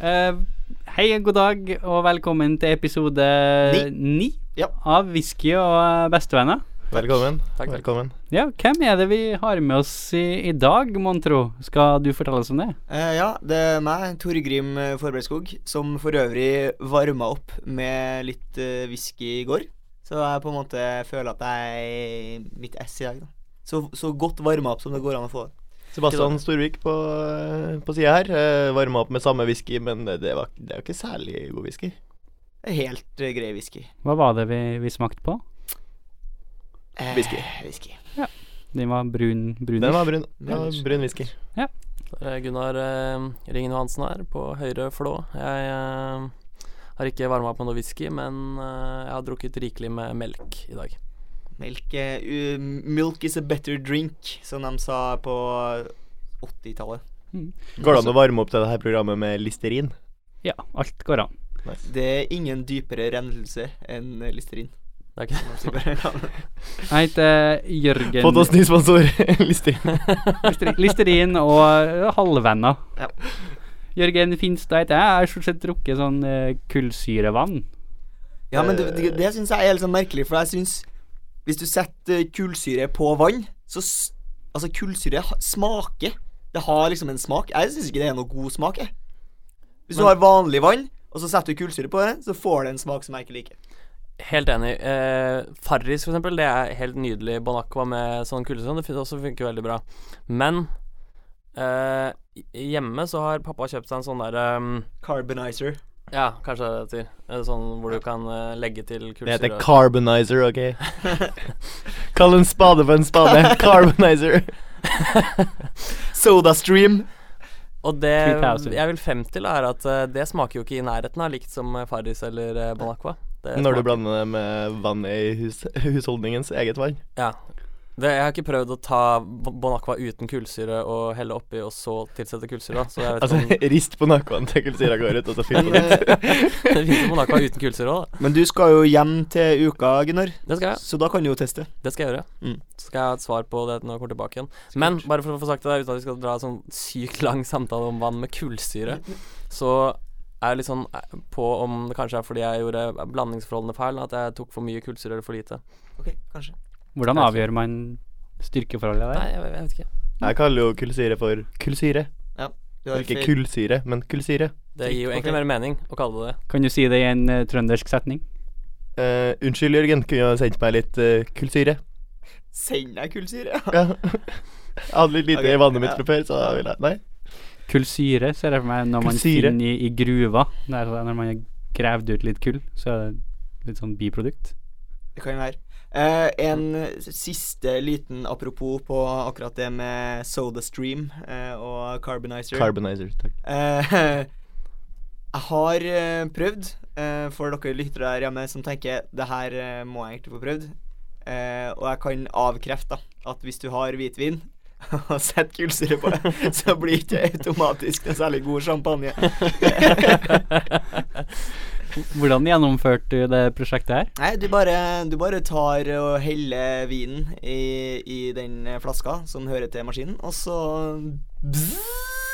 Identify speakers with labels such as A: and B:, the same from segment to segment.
A: Eh, hei, god dag, og velkommen til episode
B: Ni.
A: ni
B: Ja.
A: av Whisky og eh, bestevenner.
B: Velkommen.
C: Takk, takk.
B: Velkommen.
A: Ja, hvem er det vi har med oss i, i dag, mon tro? Skal du fortelle oss om det?
B: Eh, ja, det er meg, Torgrim eh, Forbreidskog, som for øvrig varma opp med litt eh, whisky i går. Så jeg på en måte føler at jeg er i mitt ess i dag, da. Så, så godt varma opp som det går an å få det.
C: Sebastian
B: Ikke
C: Storvik på, eh, på sida her. eh, Varma opp med samme whisky, men det, det, var, det er jo ikke særlig god whisky.
B: Det er Helt eh, grei whisky.
A: Hva var det vi, vi smakte på?
B: Eh,
C: Whisky.
B: whisky.
A: Den var brun, brunish.
C: Den var brun. Den
B: Ja,
C: var brun whisky.
D: Eh, Gunnar eh, Ringen Johansen her, på høyre flå. Jeg eh, har ikke varma opp med noe whisky, men eh, jeg har drukket rikelig med melk i dag.
B: Melk eh, u- Milk is a better drink, som de sa på 80-tallet.
C: Går det an å varme opp til det her programmet med Listerin?
A: Ja, alt går an.
B: Altså, Det er ingen dypere rennelse enn eh, Listerin.
D: Det er ikke
B: som de sier på reklamen.
A: Jeg heter Jørgen
C: Fått oss ny sponsor, Listerin.
A: Listerin- Listerin og eh, halvvenner.
B: Ja.
A: Jørgen Finstad heter jeg. Jeg har stort sett drukket sånn eh, kullsyrevann.
B: Ja, men det, det, det syns jeg er helt sånn merkelig, for jeg syns Hvis du setter kullsyre på vann, så s- Altså, kullsyre ha- smaker. Det har liksom en smak. Jeg syns ikke det er noe god smak, jeg. Hvis du
D: Men-
B: har vanlig vann, og så setter du kullsyre på det, så får det en smak som jeg ikke liker.
D: Helt enig. Eh, Farris, for eksempel, det er helt nydelig. Bon Aqua med sånn kuldesand, det fun- også funker veldig bra. Men eh, hjemme så har pappa kjøpt seg en sånn derre
B: Carbonizer.
D: Ja, kanskje det er det det heter. Eh, Sånn hvor du kan eh, legge til
C: Det
D: kullsyre.
C: heter Carbonizer, OK? Kall en spade for en spade. Carbonizer.
B: Sodastream.
D: Og det
A: 3000.
D: jeg vil frem til, er at eh, det smaker jo ikke i nærheten av likt som eh, Farris eller eh, Bon Aqua. Det
C: Når du
D: smaker-
C: blander det med vannet i hus, husholdningens eget vann.
D: Ja. Det, jeg har ikke prøvd å ta Bo- Bon Aqua uten kullsyre og helle oppi og så tilsette kullsyre. da, Så jeg vet
C: Altså,
D: ikke
C: rist på nakken til kulsyra går ut, og så fyll på
B: Men,
C: nytt.
B: eh,
D: om det fins Bon Aqua uten kullsyre òg, da.
B: men du skal jo hjem til uka, Gunnar,
D: Det skal jeg.
B: så da kan du jo teste.
D: Det skal jeg gjøre.
B: Mm.
D: Så skal jeg ha et svar på det når jeg kommer tilbake igjen. Men bare for å få sagt det, der, uten at vi skal dra en sånn sykt lang samtale om vann med kullsyre, så er jeg litt sånn eh, på om det kanskje er fordi jeg gjorde blandingsforholdene feil, at jeg tok for mye kullsyre eller for lite.
B: Ok, kanskje.
A: Hvordan avgjør man styrkeforholdet der?
D: Nei, jeg, jeg vet ikke.
C: Jeg kaller jo kullsyre for kullsyre.
B: Du har
C: Ikke
B: feil.
C: kullsyre, men kullsyre.
D: Det gir jo
B: Ok.
D: egentlig mer mening å kalle det det.
A: Kan du si det i en eh, trøndersk setning?
C: Eh, unnskyld, Jørgen, kunne du sendt meg litt eh, kullsyre?
B: Send deg kullsyre.
C: Ja. Jeg hadde litt lite
B: Ok,
C: i vannet mitt
B: ja.
C: fra før, så da ville jeg Nei.
A: Kullsyre ser jeg for meg når man
C: Kullsyre.
A: finner i, i gruva. Det er sånn når man har gravd ut litt kull, så er det litt sånn biprodukt.
B: Det kan være. Eh, en siste liten apropos på akkurat det med SodaStream eh, og Carbonizer.
C: Carbonizer, takk.
B: Eh, jeg har eh, prøvd, eh, for dere lyttere der hjemme som tenker det her eh, må jeg egentlig få prøvd. Eh, og jeg kan avkrefte da, at hvis du har hvitvin og setter kullsyre på det, så blir det ikke automatisk en særlig god champagne.
A: Hvordan gjennomførte du det prosjektet her?
B: Nei, du bare, du bare tar og heller vinen i, i den flaska som hører til maskinen, og så bzzz,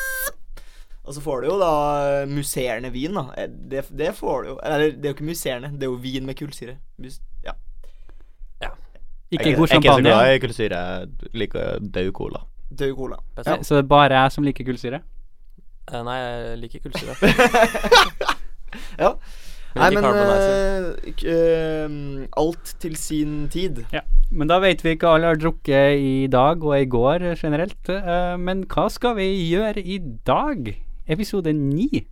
B: Og så får du jo da musserende vin, da. Eh, Det, det får du jo Eller det er jo ikke musserende, det er jo vin med kullsyre. Mus- Ja.
A: Ikke
C: Jeg-
A: god
C: Jeg er ikke så
A: champagne?
C: glad i kullsyre. Jeg liker død cola.
B: Død cola.
D: Best
A: Nei,
D: av alt.
A: Så det er bare jeg som liker kullsyre?
D: Eh, Nei, jeg liker kullsyre.
B: Ja. Nei,
D: Ikke
B: men
D: Carbonizer.
B: eh, k- eh, alt til sin tid.
A: Men da vet vi hva alle har drukket i dag og i går eh, generelt. eh, Men hva skal vi gjøre i dag? Episode ni.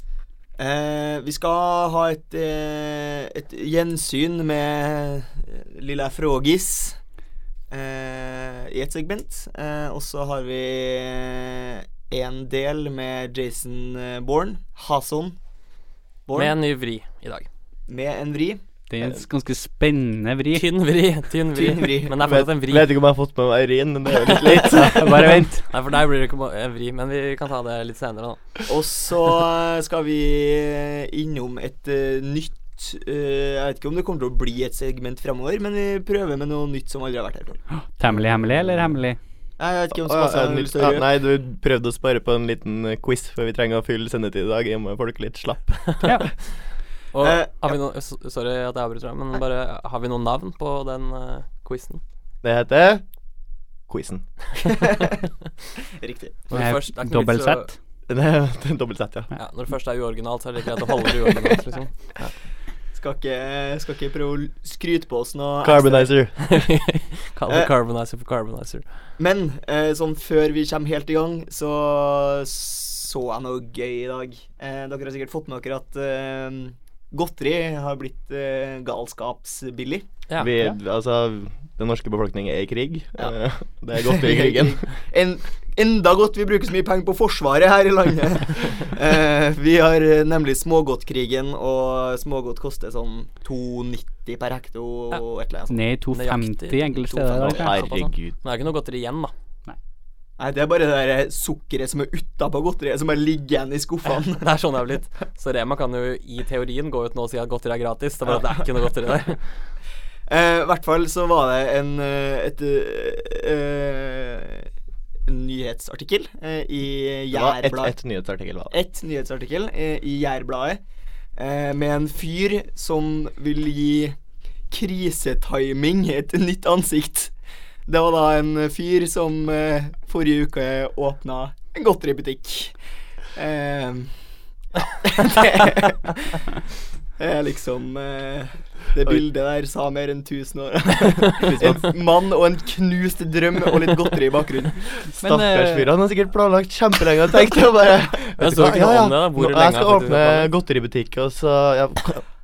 B: Eh, vi skal ha et, eh, et gjensyn med eh, Lilla Frågis eh, i et segment. Eh, og så har vi eh, en del med Jason eh, Bourne. Hason Bourne.
D: Med
B: Med en,
D: en ny vri i dag.
B: vri.
A: Det er en ganske spennende vri.
D: Tynn vri, tynn vri.
B: Tynn vri.
D: Men det er
C: Vet,
D: fortsatt en vri.
C: vet ikke om jeg har fått med meg Eirin, men det er jo litt leit.
A: Bare vent.
D: Nei, for deg blir det ikke bare en vri, men vi kan ta det litt senere, da.
B: Og så eh, skal vi eh, innom et eh, nytt eh, Jeg vet ikke om det kommer til å bli et segment fremover, men vi prøver med noe nytt som aldri har vært her før.
A: Temmelig hemmelig eller hemmelig?
B: Nei, Jeg vet ikke om
C: Å, ja,
B: Sebastian
C: en
B: har
C: litt-
B: lyst til å
C: ja,
B: gjøre
C: Nei, du prøvde å spare på en liten eh, quiz før vi trenger å fylle sendetid i dag. Jeg må folk litt slapp.
A: Ja.
D: Og
B: Eh,
D: har vi noen s- Sorry at jeg avbryter deg, men bare har vi noen navn på den uh, quizen?
C: Det heter quizen.
B: Riktig.
A: Med Dobbelt sett.
C: Det er det er dobbelt sett, ja.
D: Ja, når det først er uoriginalt, så er det greit å holde det uoriginalt, liksom.
B: Skal ikke, skal ikke prøve å skryte på oss noe.
C: Carbonizer.
D: Kall det
B: Eh.
D: carbonizer for carbonizer.
B: Men eh, sånn før vi kommer helt i gang, så så jeg noe gøy i dag. Eh, dere har sikkert fått med dere at eh, godteri har blitt eh, galskapsbillig.
D: Ja.
C: Vi, altså, den norske befolkningen er i krig.
B: Ja.
C: Eh, Det er godt i krigen.
B: en, enda godt vi bruker så mye penger på Forsvaret her i landet. eh, vi har eh, nemlig smågodtkrigen, og smågodt koster sånn 2,90 per hekto og et eller annet sånt.
A: Ned i 250
D: Nøyaktig.
A: enkelte steder. i
C: Å,
A: dag, ja.
C: herregud.
D: Men det er ikke noe godteri igjen, da.
B: Nei, det er bare det der sukkeret som er utapå godteriet, som bare ligger igjen i skuffene.
D: Det er sånn det er blitt. Så Rema kan jo i teorien gå ut nå og si at godteri er gratis. Det er bare at det er ikke noe godteri der.
B: Eh, I hvert fall så var det en, eh, et, eh, eh, en nyhetsartikkel eh, i
C: Det var ett
B: Jærbladet.
C: et nyhetsartikkel, var det.
B: Et nyhetsartikkel eh, i Jærbladet eh, med en fyr som vil gi krisetiming et nytt ansikt. Det var da en fyr som eh, forrige uke åpna en godteributikk. Eh, det, det er liksom eh, Det
C: Oi.
B: bildet der sa mer enn 1000 år. en mann og en knust drøm og litt godteri i bakgrunnen.
C: Stakkars
A: eh,
C: fyr. Han har sikkert planlagt kjempelenge og tenkt og bare
D: Jeg så ikke noe om det, da, hvor
C: nå- Jeg
D: lenge
C: skal
D: han faktisk
C: åpne
D: har planlagt.
C: godteributikk, og så ja,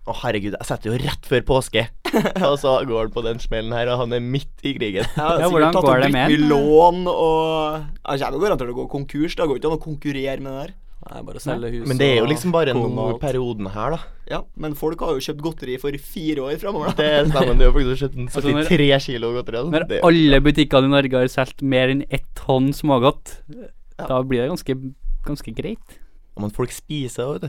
C: Å, herregud, jeg setter jo rett før påske. Og så går han på den smellen her, og han er midt i krigen.
B: Jeg har
A: Ja,
B: sikkert
A: hvordan
B: tatt
A: går
B: opp
A: det med
B: dritmye
A: den?
B: lån og Jeg kommer garantert til å gå konkurs. Det går ikke an å konkurrere med det der.
D: Nei, bare selge hus
C: Men det er jo
D: og
C: liksom bare
D: kone og
C: nå
D: alt.
C: perioden her, da.
B: Ja, men folk har jo kjøpt godteri for fire år framover, da.
C: Det stemmer. Du har faktisk kjøpt en
A: Altså, når-
C: 73 kilo godteri. Altså.
A: Når
C: Det er jo-
A: alle butikkene i Norge har solgt mer enn ett tonn smågodt,
B: Ja.
A: da blir det ganske, ganske greit.
C: Men folk spiser, vet du.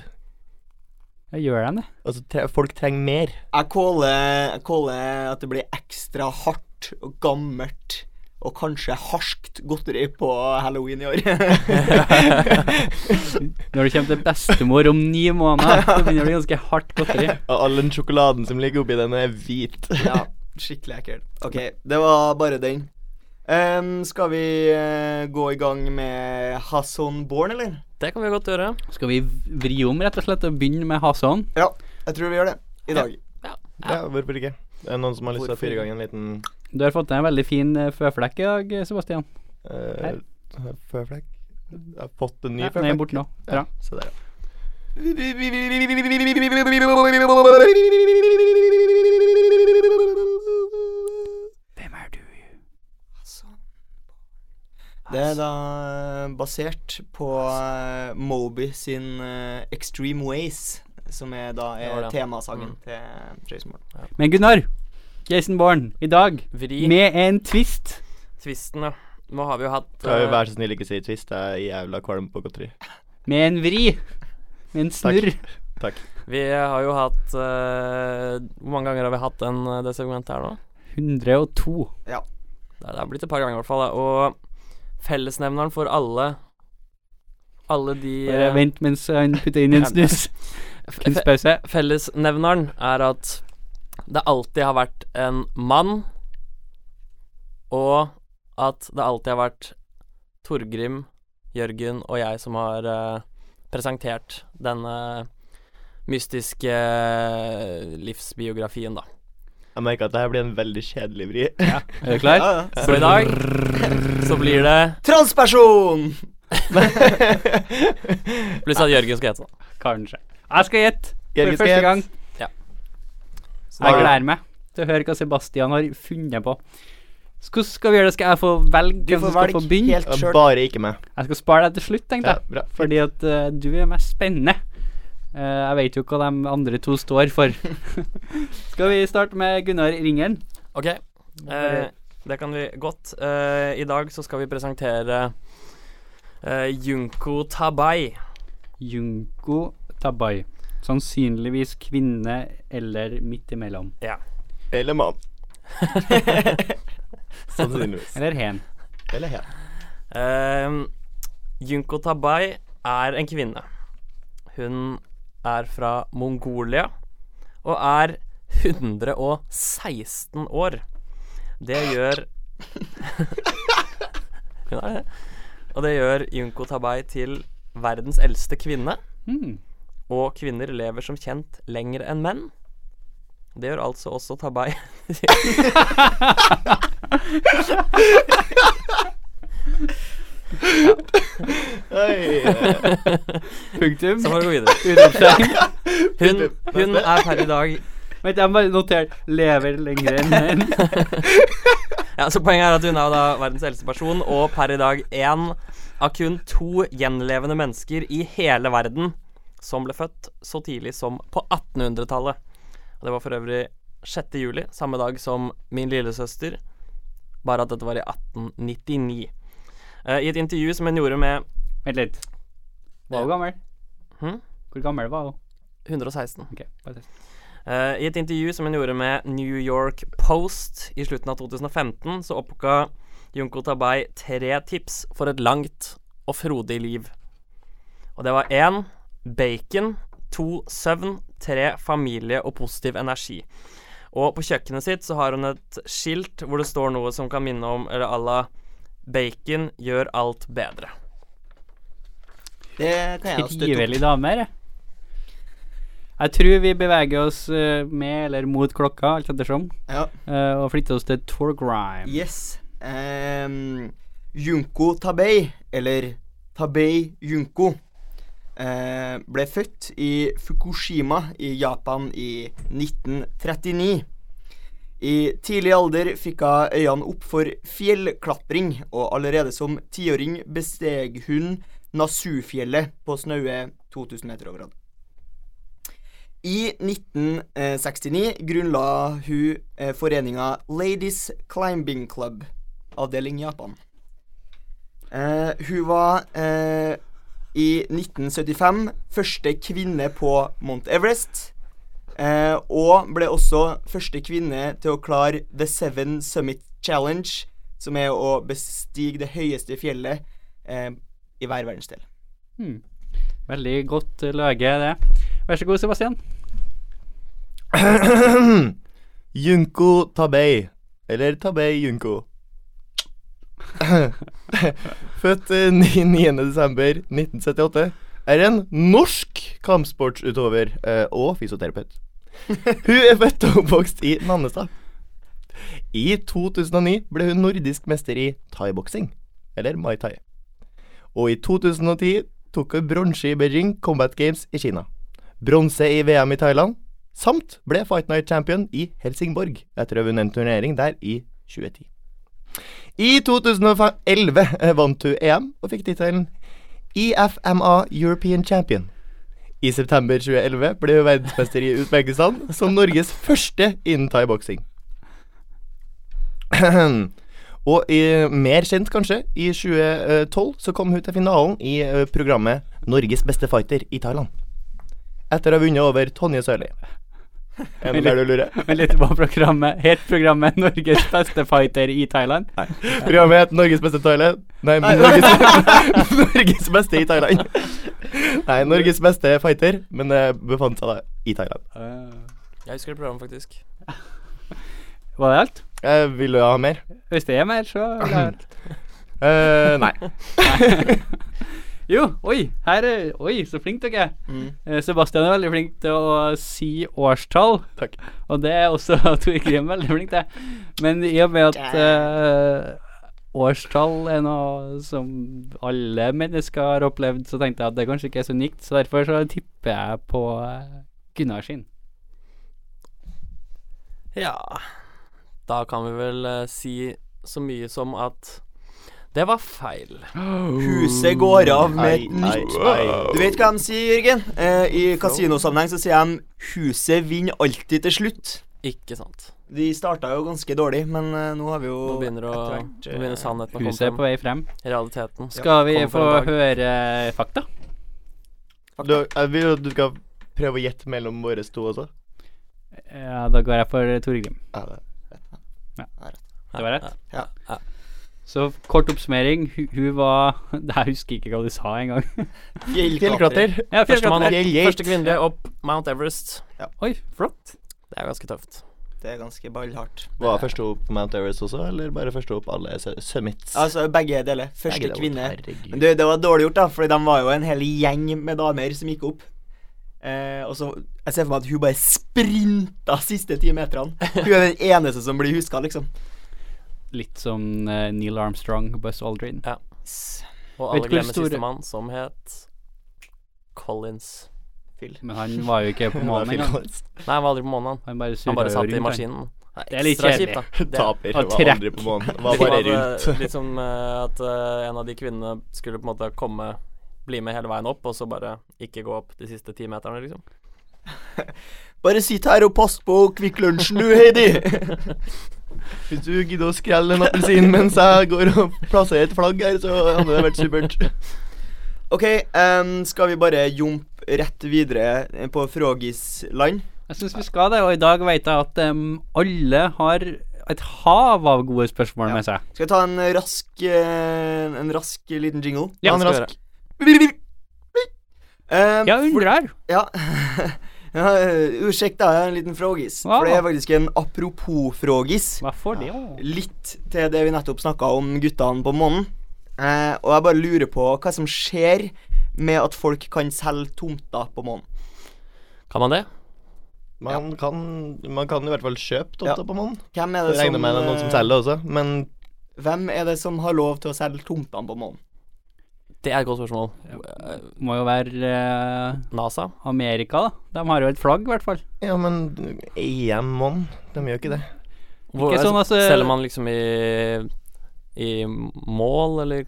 A: Ja, gjør de det?
C: Altså, tre, folk trenger mer.
B: Jeg caller jeg caller at det blir ekstra hardt og gammelt og kanskje harskt godteri på halloween i år.
A: Når du kommer til bestemor om ni måneder, så begynner det ganske hardt godteri.
C: Og all den sjokoladen som ligger oppi den, er hvit.
B: ja, skikkelig ekkelt. OK, det var bare den. Em, skal vi eh, gå i gang med Hasson Born, eller?
D: Det kan vi godt gjøre.
A: Skal vi vri om rett og slett og begynne med Hasan?
B: Ja, jeg tror vi gjør det. I dag.
C: Ja, hvorfor ikke? Det er noen som har lyst til å
B: Hvorfor
C: fyre i gang en liten
A: Du har fått deg en veldig fin eh, føflekk i dag, eh, Sebastian.
C: uh,
A: Her.
C: føflekk. Jeg har fått en ny
A: Ja,
C: føflekk.
A: den er borte nå. Bra.
C: Se der, ja.
A: Hvem er du?
B: Det er da eh, basert på eh, Moby sin eh, Extreme Ways, som er da
D: Det var
B: er
D: det.
B: temasangen til Traceborn.
A: Men Gunnar, Jason Bourne, i dag
D: Vri
A: med en twist.
D: tvisten, ja. Nå har vi jo hatt
C: Skal jo
D: eh,
C: Vær så snill, ikke si twist. Jeg er jævla kvalm på godteri.
A: Med en vri. Med en snurr.
C: Takk.
D: Vi har jo hatt eh, Hvor mange ganger har vi hatt den, eh, det segmentet her nå?
A: 102.
D: Det det har blitt et par ganger i hvert fall. da. Og fellesnevneren for alle Alle de
A: Bare
D: eh,
A: vent mens han putter inn en snus.
D: fe- fe-
A: Kunstpause.
D: Fellesnevneren er at det alltid har vært en mann, og at det alltid har vært Torgrim, Jørgen og jeg som har eh, presentert denne mystiske eh, livsbiografien, da.
C: Jeg merker at dette blir en veldig kjedelig vri.
A: Er du klar?
B: Ja, ja.
D: Så i dag så blir det
B: Transperson!
D: Pluss at Jørgen skal hete det.
A: Kanskje. Jeg skal gjette for
C: Jørgen skal
A: første
C: gjette.
A: gang.
D: Så
A: Jeg
D: da-
A: gleder meg til å høre hva Sebastian har funnet på. Så Hvordan skal vi gjøre det? Skal jeg få velge
B: Du
A: hvem som
B: får
A: skal
B: velge
A: få begynne?
B: helt sjøl.
C: Bare ikke meg.
A: Jeg skal spare deg til slutt, tenkte
C: Ja,
A: jeg.
C: bra.
A: Fordi at eh, du er mest spennende. Eh, jeg vet jo hva de andre to står for. skal vi starte med Gunnar Ringeren?
D: Ok, eh, det kan vi godt. Eh, I dag så skal vi presentere eh, Junko Tabai.
A: Junko Tabai. Sannsynligvis kvinne eller midt imellom.
C: Eller mann. Sannsynligvis.
A: Eller hen.
C: Eller ja.
D: Ehm, Junko Tabai er en kvinne. Hun er fra Mongolia og er 116 år. Det gjør Hun er det. Og det gjør Junko Tabai til verdens eldste kvinne.
A: Hmm.
D: Og kvinner lever som kjent lenger enn menn. Det gjør altså også Tabai.
C: Oi.
A: Punktum.
D: Så får vi gå videre.
A: Utropstegn.
D: Hun, hun er per i dag
A: Vent, jeg må bare notere 'lever lenger enn menn'.
D: Ja, så Poenget er at hun er jo da verdens eldste person, og per i dag én av kun to gjenlevende mennesker i hele verden som ble født så tidlig som på 1800-tallet. Og Det var for øvrig 6. juli, samme dag som min lillesøster, bare at dette var i 1899. Eh, I et intervju som hun gjorde med
A: Vent litt. Var hun gammel?
D: Hm?
A: Hvor gammel var hun?
D: 116
A: Ok, bare test.
D: Eh, I et intervju som hun gjorde med New York Post i slutten av 2015, så oppga Junko Tabai tre tips for et langt og frodig liv. Og det var én bacon, to søvn, tre familie og positiv energi. Og på kjøkkenet sitt så har hun et skilt hvor det står noe som kan minne om eller à la Bacon gjør alt bedre.
B: Det kan jeg også støtte
A: Trivelig dame her, jeg. Jeg tror vi beveger oss eh, med eller mot klokka, alt ettersom,
B: opp. Ja.
A: eh, og flytter oss til Torgrime.
B: Yes. Ehm, Junko Tabei, eller Tabei Junko, eh, ble født i Fukushima i Japan i 1939. I tidlig alder fikk hun øynene opp for fjellklatring, og allerede som tiåring besteg hun Nasufjellet på snaue 2000 meter over havet. I 1969 grunnla hun eh, foreninga Ladies Climbing Club, avdeling Japan. Eh, hun var eh, i 1975 første kvinne på Mount Everest. Eh, og ble også første kvinne til å klare The Seven Summit Challenge, som er å bestige det høyeste fjellet eh, i hver verdensdel.
A: Hmm. Veldig godt eh, lage, det. Vær så god, Sebastian.
C: Junko Tabei, eller Tabei Junko. Født eh, 9.12.1978, er en norsk kampsportsutøver eh, og fysioterapeut. Hun er født og oppvokst i Nannestad. I 2009 ble hun nordisk mester i thaiboksing, eller mai thai. Og i 2010 tok hun bronse i Beijing Combat Games i Kina. Bronse i VM i Thailand, samt ble Fight Night Champion i Helsingborg etter å ha vunnet en turnering der i 2010. I 2011 vant hun EM og fikk tittelen E IFMA European Champion. I september 2011 ble hun verdensmester i Usbekistan som Norges første innen thaiboksing. Og i, mer kjent, kanskje, i 2012 så kom hun til finalen i eh, programmet Norges beste fighter i Thailand. Etter å ha vunnet over Tonje Sørli. Er det der du lurer?
A: Men litt på programmet. Helt programmet 'Norges beste fighter i Thailand'.
C: Programmet het Norges beste Thailand Nei, Norges, Norges beste i Thailand. Nei, Norges beste fighter, men eh, befant seg da i Thailand.
D: Eh. Jeg husker det programmet, faktisk.
A: Var det alt?
C: Eh, vil du ha mer?
A: Hvis det er mer, så er det alt.
C: Eh, nei.
A: Jo, oi, her er Oi, så flink dere er.
B: Mm.
A: Eh, Sebastian er veldig flink til å si årstall.
C: Takk.
A: Og det er også Tore Grim veldig flink til. Men i og med at eh, årstall er noe som alle mennesker har opplevd, så tenkte jeg at det kanskje ikke er så unikt. Så derfor så tipper jeg på eh, Gunnar sin.
D: Ja Da kan vi vel eh, si så mye som at det var feil.
B: Huset går av med
C: Nei,
B: et
C: nei,
B: nytt
C: nei.
B: Du vet hva de sier, Jørgen? Eh, I kasinosammenheng så sier de 'huset vinner alltid til slutt'.
D: Ikke sant.
B: De starta jo ganske dårlig, men eh, nå har vi jo
D: Nå begynner, å,
B: etter
D: nå
B: hvert, eh,
D: begynner sannheten å komme
A: Huset er
D: frem.
A: på vei frem.
D: Realiteten.
A: Skal vi
D: kommer
A: få
D: for en dag.
A: høre eh, fakta?
C: Du, jeg vil jo at du skal prøve å gjette mellom våre to også.
A: Ja, da går jeg for Tore Grim.
C: Ja, det-
A: Det var rett.
D: Ja,
B: Ja.
D: ja.
A: Så kort oppsummering. Hun, hun var Jeg husker ikke hva du sa engang.
B: Fjellklatrer.
C: Fjellklatrer.
A: Ja,
D: Førstemann
A: fjellklatrer.
D: opp.
C: Fjell Gate.
D: Første kvinnelige opp Mount Everest.
A: Oi, flott.
D: Det er ganske tøft.
B: Det er ganske ballhardt.
C: Var første opp Mount Everest også, eller bare første opp alle sø- summits?
B: Altså begge deler. Første
C: Begge deler,
B: kvinne.
C: herregud.
B: Men du, det var dårlig gjort, da, for de var jo en hel gjeng med damer som gikk opp. Eh, og så Jeg ser for meg at hun bare sprinta siste ti meterne. Hun er den eneste som blir huska, liksom.
A: Litt som eh, Neil Armstrong, Buzz Aldrin.
D: Og
A: Vet
D: alle
A: du hvor
D: glemmer
A: store-
D: sistemann, som het Collins.
A: Men han var jo ikke på månen
C: Det var
A: engang.
C: fint.
D: Nei, han var aldri på månen. han.
A: Han bare surra
D: Han bare
A: jo
D: satt i
A: rundt, han.
D: maskinen.
A: Det er litt
D: ekstra
A: kjedelig.
D: kjipt, da. Det er-
C: Taper.
A: Og
C: Var
A: trekk.
C: aldri på månen.
D: Det
C: Var bare
D: var, eh,
C: rundt.
D: Litt som eh, at eh, en av de kvinnene skulle på en måte komme bli med hele veien opp, og så bare ikke gå opp de siste ti meterne, liksom.
B: Bare sitt her og pass på Kvikk Lunsjen, du, Heidi.
C: Hvis du gidder å skrelle en appelsin mens jeg går og plasserer et flagg her, så hadde det vært supert.
B: OK, em, skal vi bare jump rett videre eh, på frågisland?
A: Jeg syns vi skal det, og i dag vet jeg at em, alle har et hav av gode spørsmål
B: Ja.
A: med seg.
B: Skal jeg ta en rask, eh, en rask liten jingle?
A: Ja,
D: Han
A: skal
D: rask.
B: Eh,
A: Jeg undrer.
B: Ja. ja eh, Ursäkta, jeg har en liten frågis.
A: Ah.
B: For det er faktisk en apropos-frågis.
A: Hva får det å
B: Litt til det vi nettopp snakka om guttene på månen. Eh, og jeg bare lurer på hva som skjer med at folk kan selge tomter på månen.
D: Kan man det?
C: Man, kan, man kan i hvert fall kjøpe tomter
B: Ja.
C: på månen.
B: Hvem
C: Jeg
B: er det
C: regner
B: som,
C: med det er noen som
B: eh,
C: selger det også, men
B: Hvem er det som har lov til å selge tomtene på månen?
D: Det er et godt spørsmål. Eh,
A: Må jo være eh,
D: NASA?
A: Amerika, da. De har jo et flagg, i hvert fall.
C: Ja, men EM månen, de gjør ikke det.
D: Hvor,
A: Ikke sånn, altså-
D: Selger man liksom i i mål, eller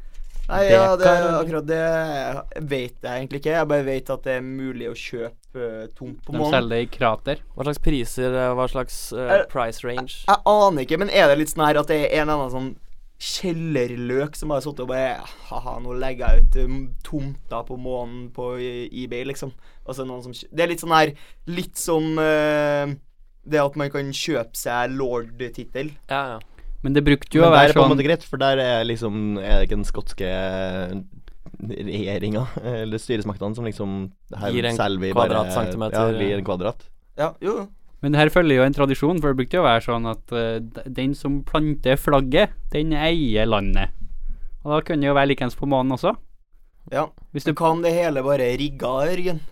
B: Nei, ja, det,
D: Dekar, eller?
B: akkurat det vet jeg egentlig ikke. Jeg bare vet at det er mulig å kjøpe eh, tomt på
A: De
B: månen.
A: selger det i krater.
D: hva slags priser, eh, hva slags eh,
B: Er-
D: price range?
B: Jeg aner ikke, men er det litt sånn her at det er en eller annen sånn kjellerløk som har sittet og bare Haha, nå legger jeg ut um, tomter på månen på eh, eBay, liksom. Og så er det noen som kjø- Det er litt sånn her Litt som eh, det at man kan kjøpe seg lord-tittel.
D: Ja, ja.
A: Men det brukte jo
C: Men
A: å
C: der er
A: være
C: det på en måte
A: sånn
C: greit, for der er liksom Er det ikke den skotske regjeringa, eller styresmaktene, som liksom her
D: Gir en
C: selger vi
D: kvadratcentimeter.
C: Ja, vi gir en kvadrat.
B: Ja, jo.
A: Men det her følger jo en tradisjon, for det brukte jo å være sånn at eh, d- den som planter flagget, den eier landet. Og da kunne det jo være likens på månen også.
B: Ja.
A: Hvis
B: Så
A: du
B: hva om det hele bare er rigga, Jørgen?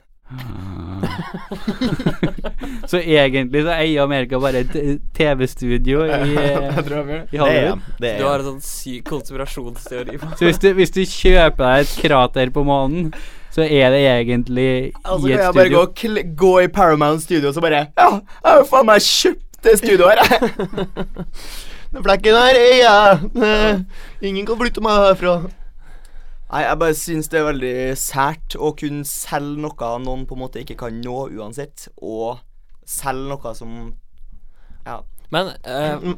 A: Så egentlig så eier Amerika bare et eh, TV-studio i, eh, i
C: Det er
A: Hollywood.
C: EM. Det
D: Du
C: er
D: har
C: EM.
D: en sånn syk konspirasjonsteori. på-
A: Så hvis du, hvis du kjøper deg et krater på månen, så er det egentlig
B: Altså
A: i
B: kan
A: et
B: jeg bare
A: studio.
B: gå, og kl- gå i Paramount Studio og så bare Ja, jeg har jo faen meg kjøpt det studioet her, jeg.
C: Den flekken her er jeg! Eh, Ingen kan flytte meg herfra.
B: Nei, jeg bare syns det er veldig sært å kunne selge noe noen på en måte ikke kan nå uansett, og selge noe som Ja.
D: Men eh,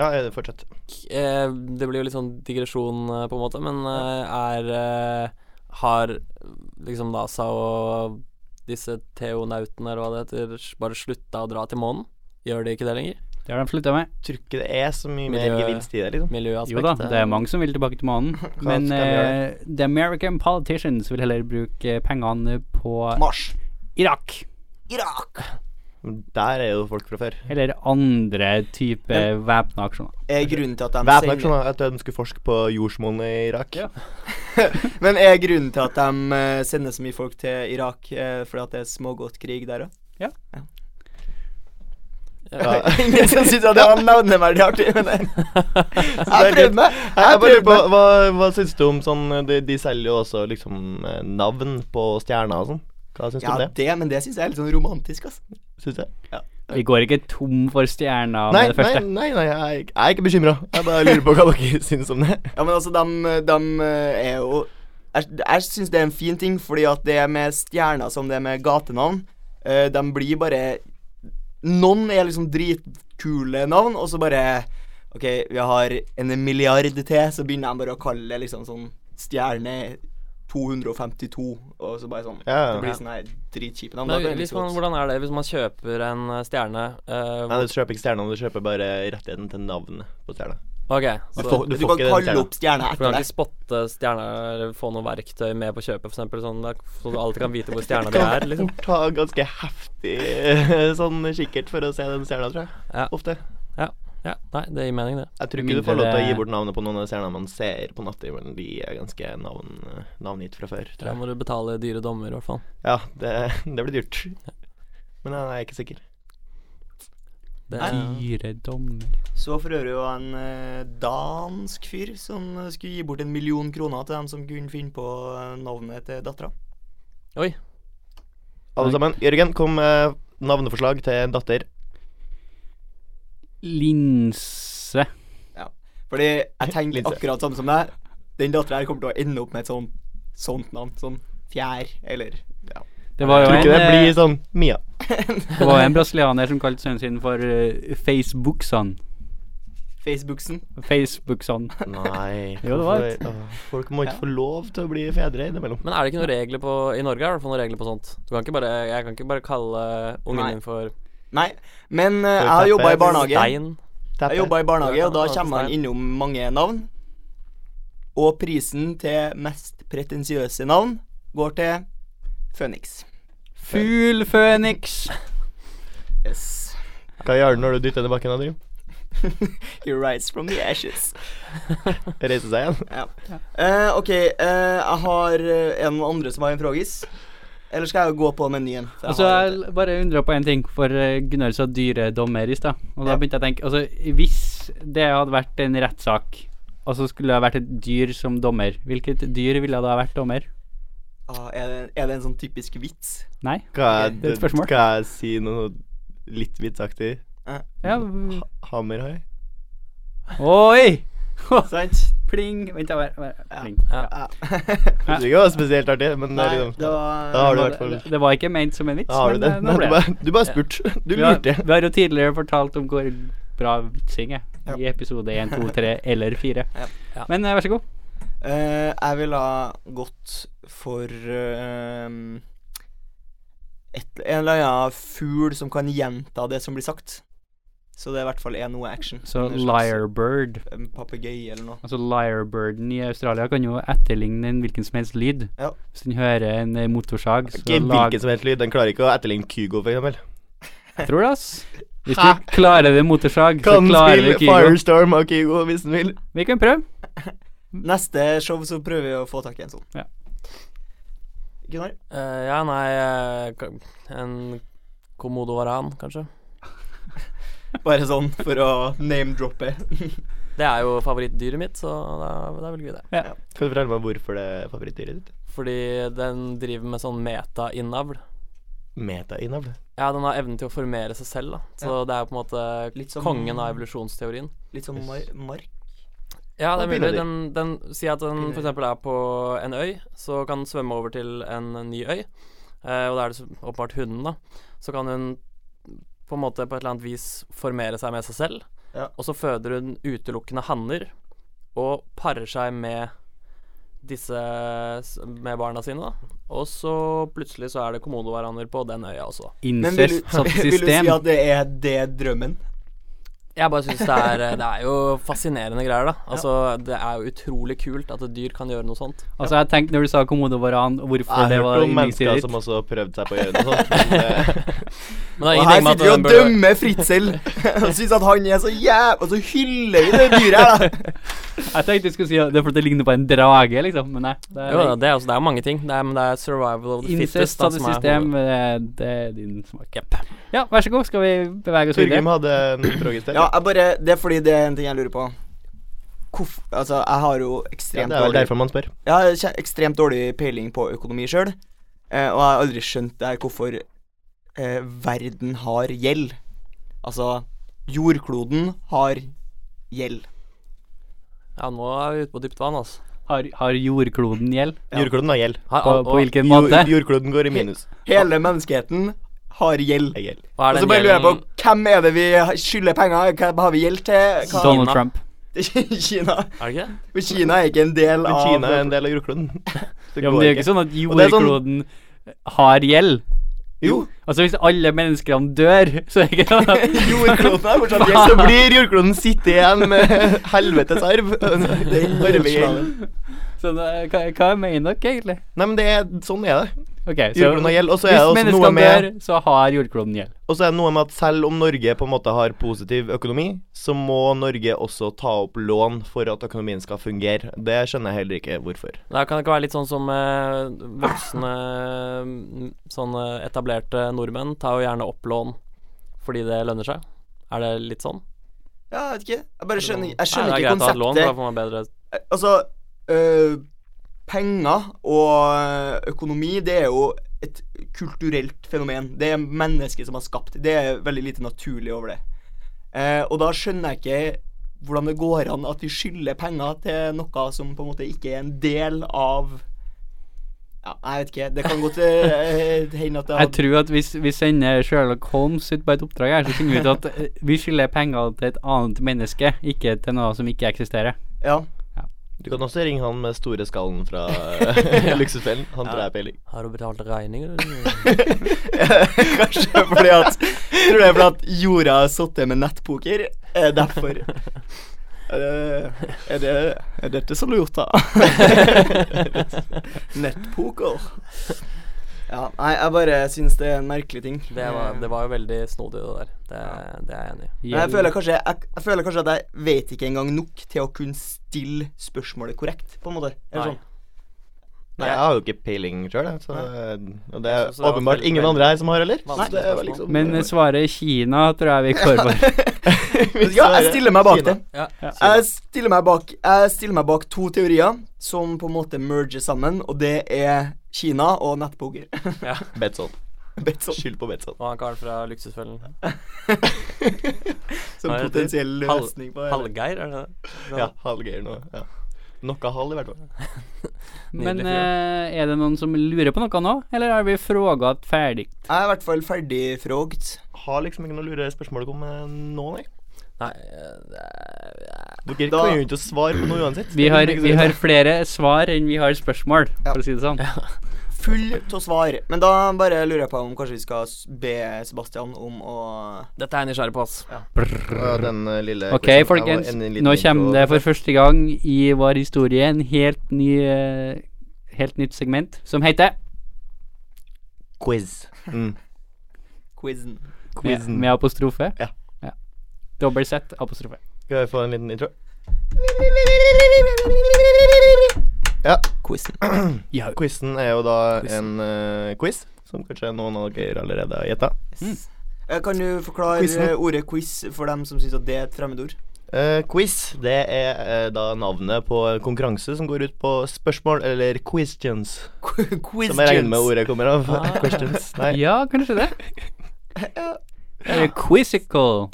C: Ja, eh, fortsett.
D: eh, det blir jo litt sånn digresjon eh, på en måte, men eh, er eh, Har liksom NASA og disse teonautene, eller hva det heter, s- bare slutta å dra til månen? Gjør de ikke det lenger?
A: Det har de slutta med.
C: Tror ikke det er så mye mer
D: Miljø-
C: gevinst i det, liksom.
D: Miljøaspektet?
A: Jo da, det er mange som vil tilbake til månen. Men
C: skal de gjøre?
A: eh, the American politicians vil heller bruke eh, pengene på
B: Mars.
A: Irak.
B: Irak.
C: Der er jo folk fra før.
A: Eller andre type væpna aksjoner.
B: Er grunnen til at de
C: Væpna
B: sender
C: aksjoner at de skulle forske på jordsmonnet i Irak.
A: Ja.
B: Men er grunnen til at de eh, sender så mye folk til Irak eh, fordi at det er smågodtkrig der òg?
C: Ja.
B: Ingen som syns at det var navneverdig artig, men det- jeg prøvde meg.
C: Jeg
B: Jeg
C: bare lurer
B: prøvde
C: på,
B: meg.
C: hva, hva syns du om sånn de, de selger jo også liksom eh, navn på stjerner og sånn. Hva syns du
B: Ja,
C: om det?
B: det, men det syns jeg er litt sånn romantisk, altså.
C: Syns jeg?
A: Vi går ikke tom for stjerner
C: nei,
A: med det
C: nei,
A: første.
C: nei, nei, jeg er ikke- jeg er ikke bekymra. Jeg bare lurer på hva dere syns om det.
B: Ja, men altså, de, er jo Jeg, jeg syns det er en fin ting, fordi at det med stjerner som det med gatenavn, eh, de blir bare Noen er liksom dritkule navn, og så bare OK, vi har en milliard til, så begynner de bare å kalle det liksom sånn stjerne 252, og så bare sånn.
C: Ja, ja.
B: Det blir sånne her dritkjipe navn. Da
D: Men
B: blir det
D: hvis
B: litt
D: man,
B: godt.
D: hvordan er det hvis man kjøper en eh, stjerne? eh,
C: Nei, Du kjøper ikke stjernene, du kjøper bare rettigheten til navnet på stjerna.
D: Ok,
C: Du
D: så
C: får,
D: for
C: du
B: Du
C: får
B: kan
C: ikke den
B: kalle
C: stjerna.
B: opp stjerna
D: du kan
B: etter
D: ikke
B: deg.
D: spotte stjerna eller få noe verktøy med på kjøpet, for eksempel, sånn, da- så du alltid kan vite hvor stjerna di er, liksom.
C: Fort ha ganske heftig eh, sånn kikkert for å se den stjerna, tror jeg.
D: Ja.
C: Ofte.
D: Ja, nei, det gir mening, det.
C: Jeg tror
A: Med
C: ikke du får
A: mindre
C: lov til å gi
A: det-
C: bort navnet på noen av stjernene man ser på natthimmelen. De er ganske navn, eh, navngitt fra før,
D: Da
C: tror jeg.
D: må du betale dyre dommer, i hvert fall.
C: Ja, det, det blir dyrt. Men jeg er ikke sikker.
D: Det,
A: Dyre dommer.
B: Så for øvrig var en eh, dansk fyr som eh, skulle gi bort en million kroner til dem som kunne finne på eh, navnet til dattera.
C: Alle sammen. Jørgen, kom med navneforslag til en datter.
A: Linse.
B: Fordi jeg tenker
C: Linse.
B: akkurat samme som deg. Den dattera her kommer til å ende opp med et sånt, sånt navn. Sånn fjær, eller ja.
A: Det var jo
C: Tror
A: en,
C: ikke det
A: eh,
C: blir sånn Mia.
A: det var jo en brasilianer som kalte sønnen sin for eh, Facebookson.
B: Facebooksen.
A: Facebookson.
C: Nei.
A: Jo, det var
C: hvorfor- Åh, Folk må ikke få lov til å bli fedre innimellom.
D: Men er det ikke noen regler på I Norge er det i hvert fall noen regler på sånt. Du kan ikke bare, jeg kan ikke bare kalle ungen
B: Nei.
D: min for
B: Nei, men eh, jeg
C: teppe,
B: har jobba i barnehage.
D: Stein.
B: Jeg jobba i barnehage,
D: Ja,
B: og da
D: Stein.
B: kommer man innom mange navn. Og prisen til mest pretensiøse navn går til Phoenix.
A: Fugl Føniks.
B: Yes.
C: Hva gjør du når du dytter den i bakken? Adrian?
B: He rides from the ashes.
C: Reiser seg igjen?
B: Eh, ok, eh, jeg har eh, en andre som har en frågis. Eller skal jeg gå på menyen? For
A: Altså,
B: har
A: jeg
B: et-
A: l- bare undrer på en ting, for eh, Gunnar sa dyre dommer i stad. Og da
B: Ja.
A: begynte jeg å tenke Altså, hvis det hadde vært en rettssak, og så skulle det ha vært et dyr som dommer, hvilket dyr ville da ha vært dommer?
B: Ah, er, det, er det en sånn typisk vits?
A: Nei?
C: Skal
A: Det er
C: jeg,
A: et spørsmål.
C: skal jeg si noe litt vitsaktig?
A: Ja.
B: Mm.
A: v-
C: Hammerhai?
A: Oi!
B: Sant?
A: Pling. Vent, da. bare- bare-
B: Ja.
A: Pling.
D: Ja.
B: Ja.
C: Jeg tror ikke det var spesielt artig, men det
B: Nei,
C: er liksom
B: det var
C: Da har du i hvert fall
A: Det, det var ikke ment som en vits,
C: Da har du
A: men
C: det.
A: eh,
C: Nei,
A: nå
C: du,
A: ble det.
C: bare, du bare spurte. Du
A: Vi har,
C: lurte.
A: vi har jo tidligere fortalt om hvor bra vitsing er i episode 1, 2, 3 eller 4.
B: Ja.
D: Ja.
A: Men eh, vær så god.
B: Eh, Jeg ville ha gått for eh, et, En eller annen fugl som kan gjenta det som blir sagt. Så det i hvert fall er noe action.
A: Så
B: En slags,
A: Liarbird
B: En papegøye eller noe.
A: Altså Liarbirden i Australia kan jo etterligne en hvilken som helst lyd.
B: Ja.
A: Hvis den hører en eh, motorsag, så
C: Ikke
A: lag
C: hvilken som helst lyd. Den klarer ikke å etterligne Kygo, for eksempel.
A: Jeg tror det, ass. Hvis
C: Hæ?
A: du klarer det motorsag, så
C: Kan
A: klarer du
C: spille
A: ikke Kygo.
C: Firestorm av Kygo hvis den vil.
A: Vi kan prøve.
B: Neste show så prøver vi å få tak i en sånn.
A: Ja.
B: Gunnar?
D: Eh, ja, nei eh, ka- En Komodo varan, kanskje.
B: Bare sånn for å name-droppe.
D: Det er jo favorittdyret mitt, så da, da velger vi det.
C: Kan du fortelle meg hvorfor det er favorittdyret ditt?
D: Fordi den driver med sånn meta-innavl.
C: Meta-innavl.
D: Ja, den har evnen til å formere seg selv, da. Så det er jo på en måte
B: Litt som-
D: kongen av evolusjonsteorien.
B: Litt som mar mark.
D: Ja,
C: Og
D: det er mulig.
C: pinnedyr.
D: Den, den, si at den f.eks. er på en øy, så kan den svømme over til en ny øy. Eh, og da er det så åpenbart hunden, da. Så kan hun på en måte på et eller annet vis formere seg med seg selv.
B: Ja.
D: Og så føder hun utelukkende hanner, og parer seg med disse s- med barna sine, da. Og så plutselig så er det komodovaraner på den øya også.
B: Men vil du,
A: Incest som
B: vil du si
A: system.
B: at det er det drømmen?
D: Jeg bare syns det er eh, Det er jo fascinerende greier, da. Altså, det er jo utrolig kult at et dyr kan gjøre noe sånt.
A: Altså, jeg tenkte når du sa komodovaran, hvorfor det
C: Jeg
A: var
C: hørte om mennesker
A: yndlingsdyret ditt.
C: som også har prøvd seg på å gjøre Sånn. noe sånt. men det-
D: Men det
B: Og
D: er
B: her
D: ingenting med at
B: sitter vi
D: den
B: og
D: burde-
B: dømmer Fritzel og syns at han er så jæv... Og så hyller vi det dyret her, da.
A: Jeg tenkte du skulle si at det er fordi det ligner på en drage, liksom, men nei. Det
D: Jo, da,
A: er
D: det, er også, det er mange ting. Det er, men det er survival of the fittest.
A: incest
D: da,
A: av det
D: som er
A: system.
D: hovedet.
A: eh, Det er din smak. Ja, vær så god, skal vi bevege oss
C: Torgrim
A: videre?
C: hadde en frågestil.
B: Ja, jeg bare Det er fordi det er en ting jeg lurer på. Hvorf, altså, jeg har jo
C: Ja,
B: ekstremt
C: det er vel
B: dårlig
C: derfor man spør.
B: Jeg har kje- ekstremt dårlig peiling på økonomi sjøl, eh, og jeg har aldri skjønt det her hvorfor eh, verden har gjeld. Altså, jordkloden har gjeld.
D: Ja, nå er vi ute på dypt vann, altså.
A: Har, har jordkloden gjeld?
B: Ja.
C: Jordkloden har gjeld.
D: Har,
A: På,
D: og,
A: på hvilken
C: Jo-
A: måte?
C: Jordkloden går i minus.
B: Hele menneskeheten har gjeld.
C: Er gjeld.
D: og er
B: Og så
D: den
B: bare lurer jeg på
D: gjelden-
B: hvem er det vi skylder penger? Hvem har vi gjeld til? Hva?
A: Donald
D: Kina.
A: Trump.
B: Kina.
D: Er det ikke det?
B: For Kina er ikke en del
C: Men
B: av
C: Kina er en del av jordkloden.
A: Ja, men det er jo ikke sånn at
C: Og det er sånn-
A: jordkloden har gjeld.
C: Jo.
A: Altså, hvis alle menneskene dør, så er det ikke noe
C: Jordkloden er fortsatt gjest, så blir jordkloden sitte igjen med helvetes arv. Arvegjeld.
A: Så da- hva, hva mener dere egentlig?
C: Nei, men det er, sånn er det.
A: Ok, så
C: Jordkloden har gjeld. Og så er det
A: hvis
C: også noe
A: menneskene
C: med
A: dør, så har jordkloden gjeld.
C: Og så er det noe med at selv om Norge på en måte har positiv økonomi, så må Norge også ta opp lån for at økonomien skal fungere. Det skjønner jeg heller ikke hvorfor.
D: Da kan det ikke være litt sånn som eh, voksne mm, sånne etablerte nordmenn tar jo gjerne opp lån fordi det lønner seg. Er det litt sånn?
B: Ja, jeg vet ikke. Jeg bare skjønner, jeg
D: Nei,
B: skjønner
D: det er
B: ikke
D: greit å ha et lån, for da
B: konseptet.
D: får man bedre
B: Eh, Altså, øh, penger og eh, økonomi, det er jo et kulturelt fenomen. Det er mennesket som har skapt. Det er veldig lite naturlig over det. Eh, og da skjønner jeg ikke hvordan det går an at vi skylder penger til noe som på en måte ikke er en del av ja, Jeg vet ikke. Det kan godt eh, hende at det
A: Jeg tror at hvis vi sender Sherlock Holmes ut på et oppdrag her, så finner vi ut at eh, vi skylder penger til et annet menneske, ikke til noe som ikke eksisterer.
B: ja.
C: Du kan også ringe han med store skallen fra Luksusfellen. Han tror jeg er peiling.
D: Har du betalt regninger?
B: Kanskje fordi at Tror det er fordi at jorda har sittet med nettpoker. Er derfor. Er det, er det er dette som lurt, da? Nettpoker. Ja, nei, jeg bare syns det er en merkelig ting.
D: Det var, det var jo veldig snodig, det der. Det, det er jeg enig i.
B: Men jeg føler, kanskje, jeg, jeg føler kanskje at jeg vet ikke engang nok til å kunne stille spørsmålet korrekt, på en måte. Eller
D: Nei.
B: sånn.
C: Nei, jeg har jo ikke peiling sjøl, så Og det
D: Jeg
C: er
D: synes det var
C: åpenbart
D: veldig-
C: ingen andre her som har heller.
D: Vanskelig
C: Så det er
D: spørsmål.
C: liksom
A: Men eh, svaret Kina tror jeg vi går for.
B: Ja, jeg stiller meg bak det.
D: Ja.
B: Jeg stiller, meg bak, jeg stiller meg bak to teorier som på en måte merger sammen, og det er Kina og nettpoker.
C: Betson.
B: Betson
C: eh, Skyld på Betson.
D: Og han karen fra Luksusfellen.
B: som
D: Hva heter det?
B: potensiell
D: Hal-
B: løsning på det.
D: Hallgeir, er det det?
C: Ja, halvgeir nå. Ja. Noe halv, i hvert fall.
A: Men
D: Nydelig fyr.
A: eh, er det noen som lurer på noe nå, eller har vi fråga ferdig?
B: Jeg er i hvert fall ferdig frågt.
C: Har liksom ikke noe lure spørsmål om eh, nå, nei.
D: Nei eh, det er-
C: Dere
B: Da-
C: kan jo ikke svare på noe uansett.
A: Vi
C: Det er
A: har,
C: ikke så
A: vi
C: rett.
A: har flere svar enn vi har spørsmål, for å si det sånn.
B: Full av svar. Men da bare lurer jeg på om kanskje vi skal s- be Sebastian om å
D: Dette er jeg nysgjerrig på, ass.
C: Ja, den eh, lille
A: Ok,
C: quizen. Jeg var
A: folkens.
C: en- en liten
A: Nå
C: intro.
A: kommer det for første gang i vår historie en helt ny eh, Helt nytt segment som heter
C: Quiz. Mm.
B: quizen.
A: Med,
C: Quizen.
A: med apostrofe.
C: Ja.
A: ja. Dobbel Z, apostrofe.
C: Skal jeg få en liten intro?
B: Quizen.
A: Ja.
C: Quizen er jo da en eh, quiz, som kanskje noen av dere allerede har gjetta.
B: Eh, Kan du forklare
C: Quizen.
B: eh, ordet quiz for dem som syns at det er et fremmedord?
C: Eh, quiz det er eh, da navnet på en konkurranse som går ut på spørsmål eller questions.
B: quiz
C: Som jeg regner med ordet kommer av.
B: Ah.
C: questions. Nei.
A: ja, kanskje det. Eller quizzical.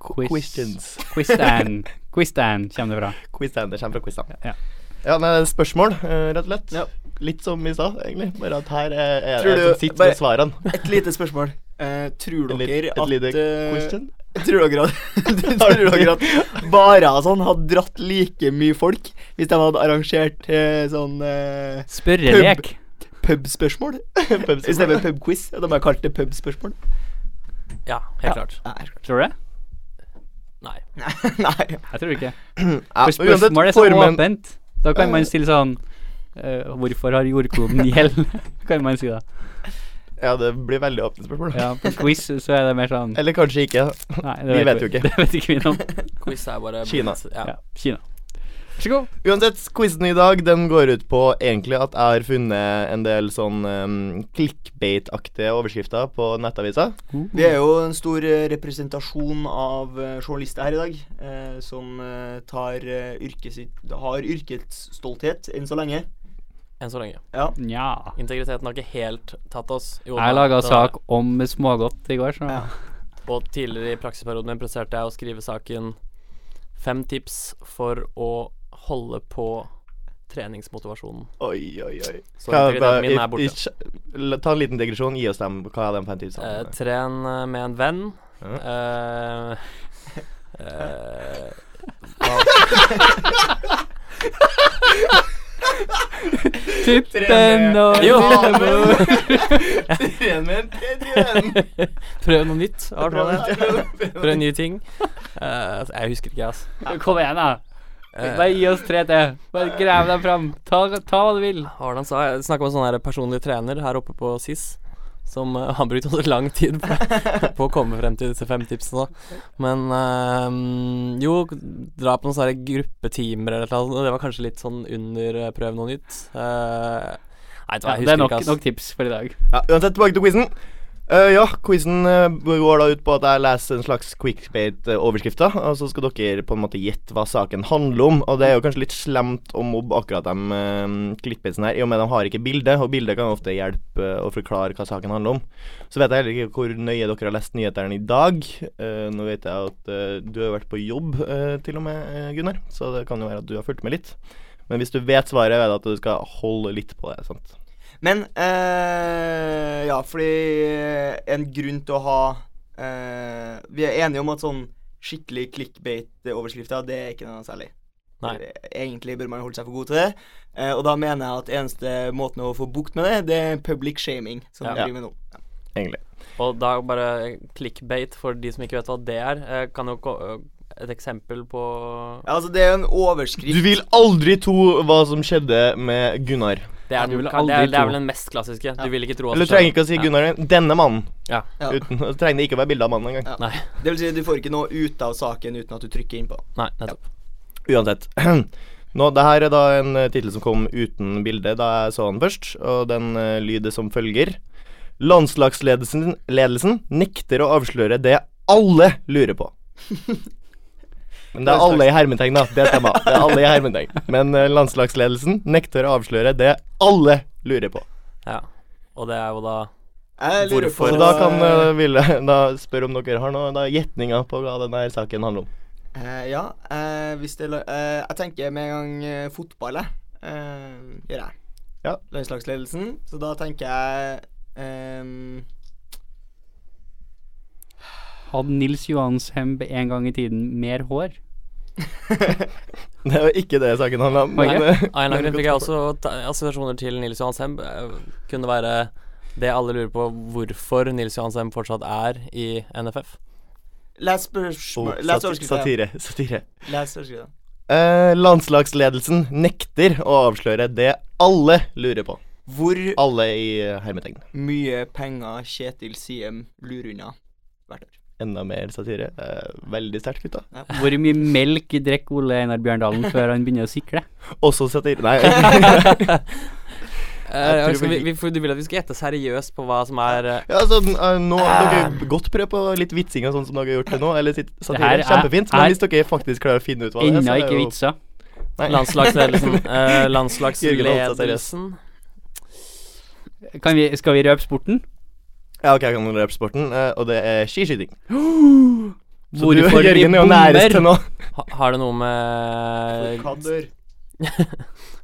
A: Quiz.
C: Questions.
A: Quizdan. Quizdan kommer det fra.
C: Quizstand. Det kommer fra quizstand.
A: Ja.
C: Ja, nei, det er spørsmål, eh, rett og slett.
B: Ja.
C: Litt som i stad, egentlig. Bare at her er, er
B: Tror
C: det
B: du-
C: som sitter
B: bare-
C: med svarene.
B: Et lite spørsmål. Eh, tror
C: En
B: dere
C: litt-
B: at
C: Et lite
B: eh,
C: question.
B: Tror dere at, tror dere at barer og sånn hadde dratt like mye folk hvis de hadde arrangert eh, sånn eh,
A: Spørrelek.
B: pubspørsmål? I stedet for pubquiz. De har kalt det pubspørsmål.
D: Ja, helt klart.
B: Nei,
A: Tror du det?
D: Nei.
B: nei.
A: Jeg tror ikke.
C: Ja,
A: For
C: uansett,
A: spørsmålet er så
C: formen-
A: åpent. Da kan man stille sånn eh, Hvorfor har jordkloden gjeld? kan man si da.
C: Ja, det blir veldig åpne spørsmål.
A: Ja, på quiz så er det mer sånn
C: Eller kanskje ikke.
A: Nei, det
C: Vi vet jo ikke.
A: Det vet ikke vi noe om.
D: Quiz er bare
C: Kina.
D: Ja.
A: Ja, Kina. Vær så god.
C: Uansett, quizen i dag den går ut på egentlig at jeg har funnet en del sånn um, clickbait-aktige overskrifter på nettaviser.
B: Vi er jo en stor eh, representasjon av eh, journalister her i dag, eh, som eh, tar eh, yrket sitt Har yrkets stolthet enn så lenge.
D: Enn så lenge.
B: Ja.
A: Nja.
D: Integriteten har ikke helt tatt oss. Jo,
A: Jeg
D: da,
A: laga
D: det har-
A: sak om smågodt i går, så
B: Ja.
D: Og tidligere i praksisperioden min presterte jeg å skrive saken Fem tips for å holde på treningsmotivasjonen.
C: Oi, oi, oi.
D: Så integriteten min er borte.
C: ta en liten digresjon. Gi oss dem. Hva er de fem tipsene?
D: Eh, tren eh, med en venn.
C: Ja.
D: Eh, eh,
A: Tippen og
D: Jo.
A: Lillebror.
C: Tren med en
D: Prøv noe nytt. Prøv,
C: Prøv
D: prøv nye ting. Eh, jeg husker ikke, altså.
A: Kom igjen, da. Bare gi oss tre til. Bare grav deg fram. Ta, ta hva du vil.
D: Hvordan sa jeg? Snakka med en sånn her personlig trener her oppe på SIS. Som eh, har brukt også lang tid på, på å komme frem til disse fem tipsene. da. Men eh, jo, dra på noen sånne her gruppetimer eller noe sånt. Det var kanskje litt sånn under eh, prøv noe nytt. Eh, nei,
A: Ja,
D: vet du hva, jeg
A: det er
D: husker
A: nok,
D: ikke, altså.
A: nok tips for i dag.
C: Ja, uansett, tilbake til quizen. Eh, ja, quizen går da ut på at jeg leser en slags quickbate-overskrifter, og så skal dere på en måte gjette hva saken handler om. Og det er jo kanskje litt slemt å mobbe akkurat de uh, klippelsene her, i og med de har ikke bilde, og bilde kan ofte hjelpe eh, å forklare hva saken handler om. Så vet jeg heller ikke hvor nøye dere har lest nyhetene i dag. Eh, nå vet jeg at eh, du har vært på jobb, eh, til og med, eh, Gunnar, så det kan jo være at du har fulgt med litt. Men hvis du vet svaret, vet jeg at du skal holde litt på det. sant?
B: Men eh, Ja, fordi en grunn til å ha eh, Vi er enige om at sånn skikkelig clickbait-overskrifter, det er ikke noe særlig.
D: Nei.
B: Egentlig bør man holde seg for god til det. Eh, og da mener jeg at eneste måten å få bukt med det, det er public shaming, som
D: Ja.
B: vi driver med nå.
C: Egentlig.
D: Og da bare clickbait, for de som ikke vet hva det er. eh, Kan jo ko- eh, et eksempel på
B: Ja, altså, det er jo en overskrift
C: Du vil aldri tro hva som skjedde med Gunnar.
D: Det er,
A: du
D: den-
A: vil
D: det er,
A: aldri
D: det er
A: tro.
D: vel den mest klassiske. Du vil ikke tro at
C: Eller
D: det
C: du trenger ikke
D: skjer.
C: å si
D: Ja.
C: Gunnar. Denne mannen.
D: Ja.
B: Ja.
C: Uten, så trenger det ikke å være bilde av mannen engang.
B: Ja.
D: Nei,
B: Det vil si, du får ikke noe ut av saken uten at du trykker innpå.
D: nei, nettopp.
C: Uansett. Nå, det her er da en eh, tittel som kom uten bilde da jeg så den først, og den eh, lyder som følger. Landslagsledelsen ledelsen nekter å avsløre det alle lurer på. Men det er alle i hermetegn, da. Det stemmer. Det er alle i hermetegn. Men eh, landslagsledelsen nekter å avsløre det alle lurer på.
D: Ja. Og det er jo da
B: Jeg lurer
D: Hvorfor?
B: på
C: Så da kan eh, Ville da spørre om dere har noen da gjetninger på hva denne her saken handler om.
B: Eh, ja, eh, hvis det la- eh, Jeg tenker med en gang eh, fotball, jeg. Eh, gjør jeg.
C: Ja.
B: Landslagsledelsen. Så da tenker jeg ehm,
A: Hadde Nils Johansheim en gang i tiden mer hår?
C: Det er jo ikke det saken handler om. Men,
A: Ok.
C: eh,
D: Av en eller annen
C: men
D: grunn fikk jeg også ta- assosiasjoner til Nils Johansheim. Eh, Kunne være det alle lurer på, hvorfor Nils Johansheim fortsatt er i NFF.
B: Les
C: Oh,
B: spørsmål Les
C: sat-
B: overskriften.
C: satire. satire.
B: Les overskriften.
C: Eh, landslagsledelsen nekter å avsløre det alle lurer på.
B: Hvor
C: Alle i eh, hermetegn.
B: mye penger Kjetil Siem lurer unna hvert år?
C: Enda mer satire. Eh, veldig sterkt, gutta.
A: Hvor mye melk drikker Ole Einar Bjørndalen før han begynner å sikle?
C: Også satire. Nei.
D: Eh,
C: tror
D: skal vi,
C: vi-
D: vi, får- du vil at vi skal gjette seriøst på hva som er eh,
C: ja, så, eh, nå Dere godt prøve på litt vitsing og sånn som dere har gjort til nå. Eller sit- satire.
A: Det her er-
C: Kjempefint. Men
A: er-
C: hvis dere faktisk klarer å finne ut hva det er,
A: Ennå
C: så er det
A: ikke
C: jo-
A: vitser.
C: Nei.
D: landslagsledelsen. Eh,
C: Jørgen Holst er seriøs.
D: landslagsledelsen
A: Kan vi, skal vi røpe sporten?
C: Ja, ok, jeg kan røpe sporten, eh, og det er skiskyting. Så
A: Hvorfor
C: du,
A: vi
C: Jørgen, er jo nærest til
A: bommer?
C: nå.
D: ha, Har det noe med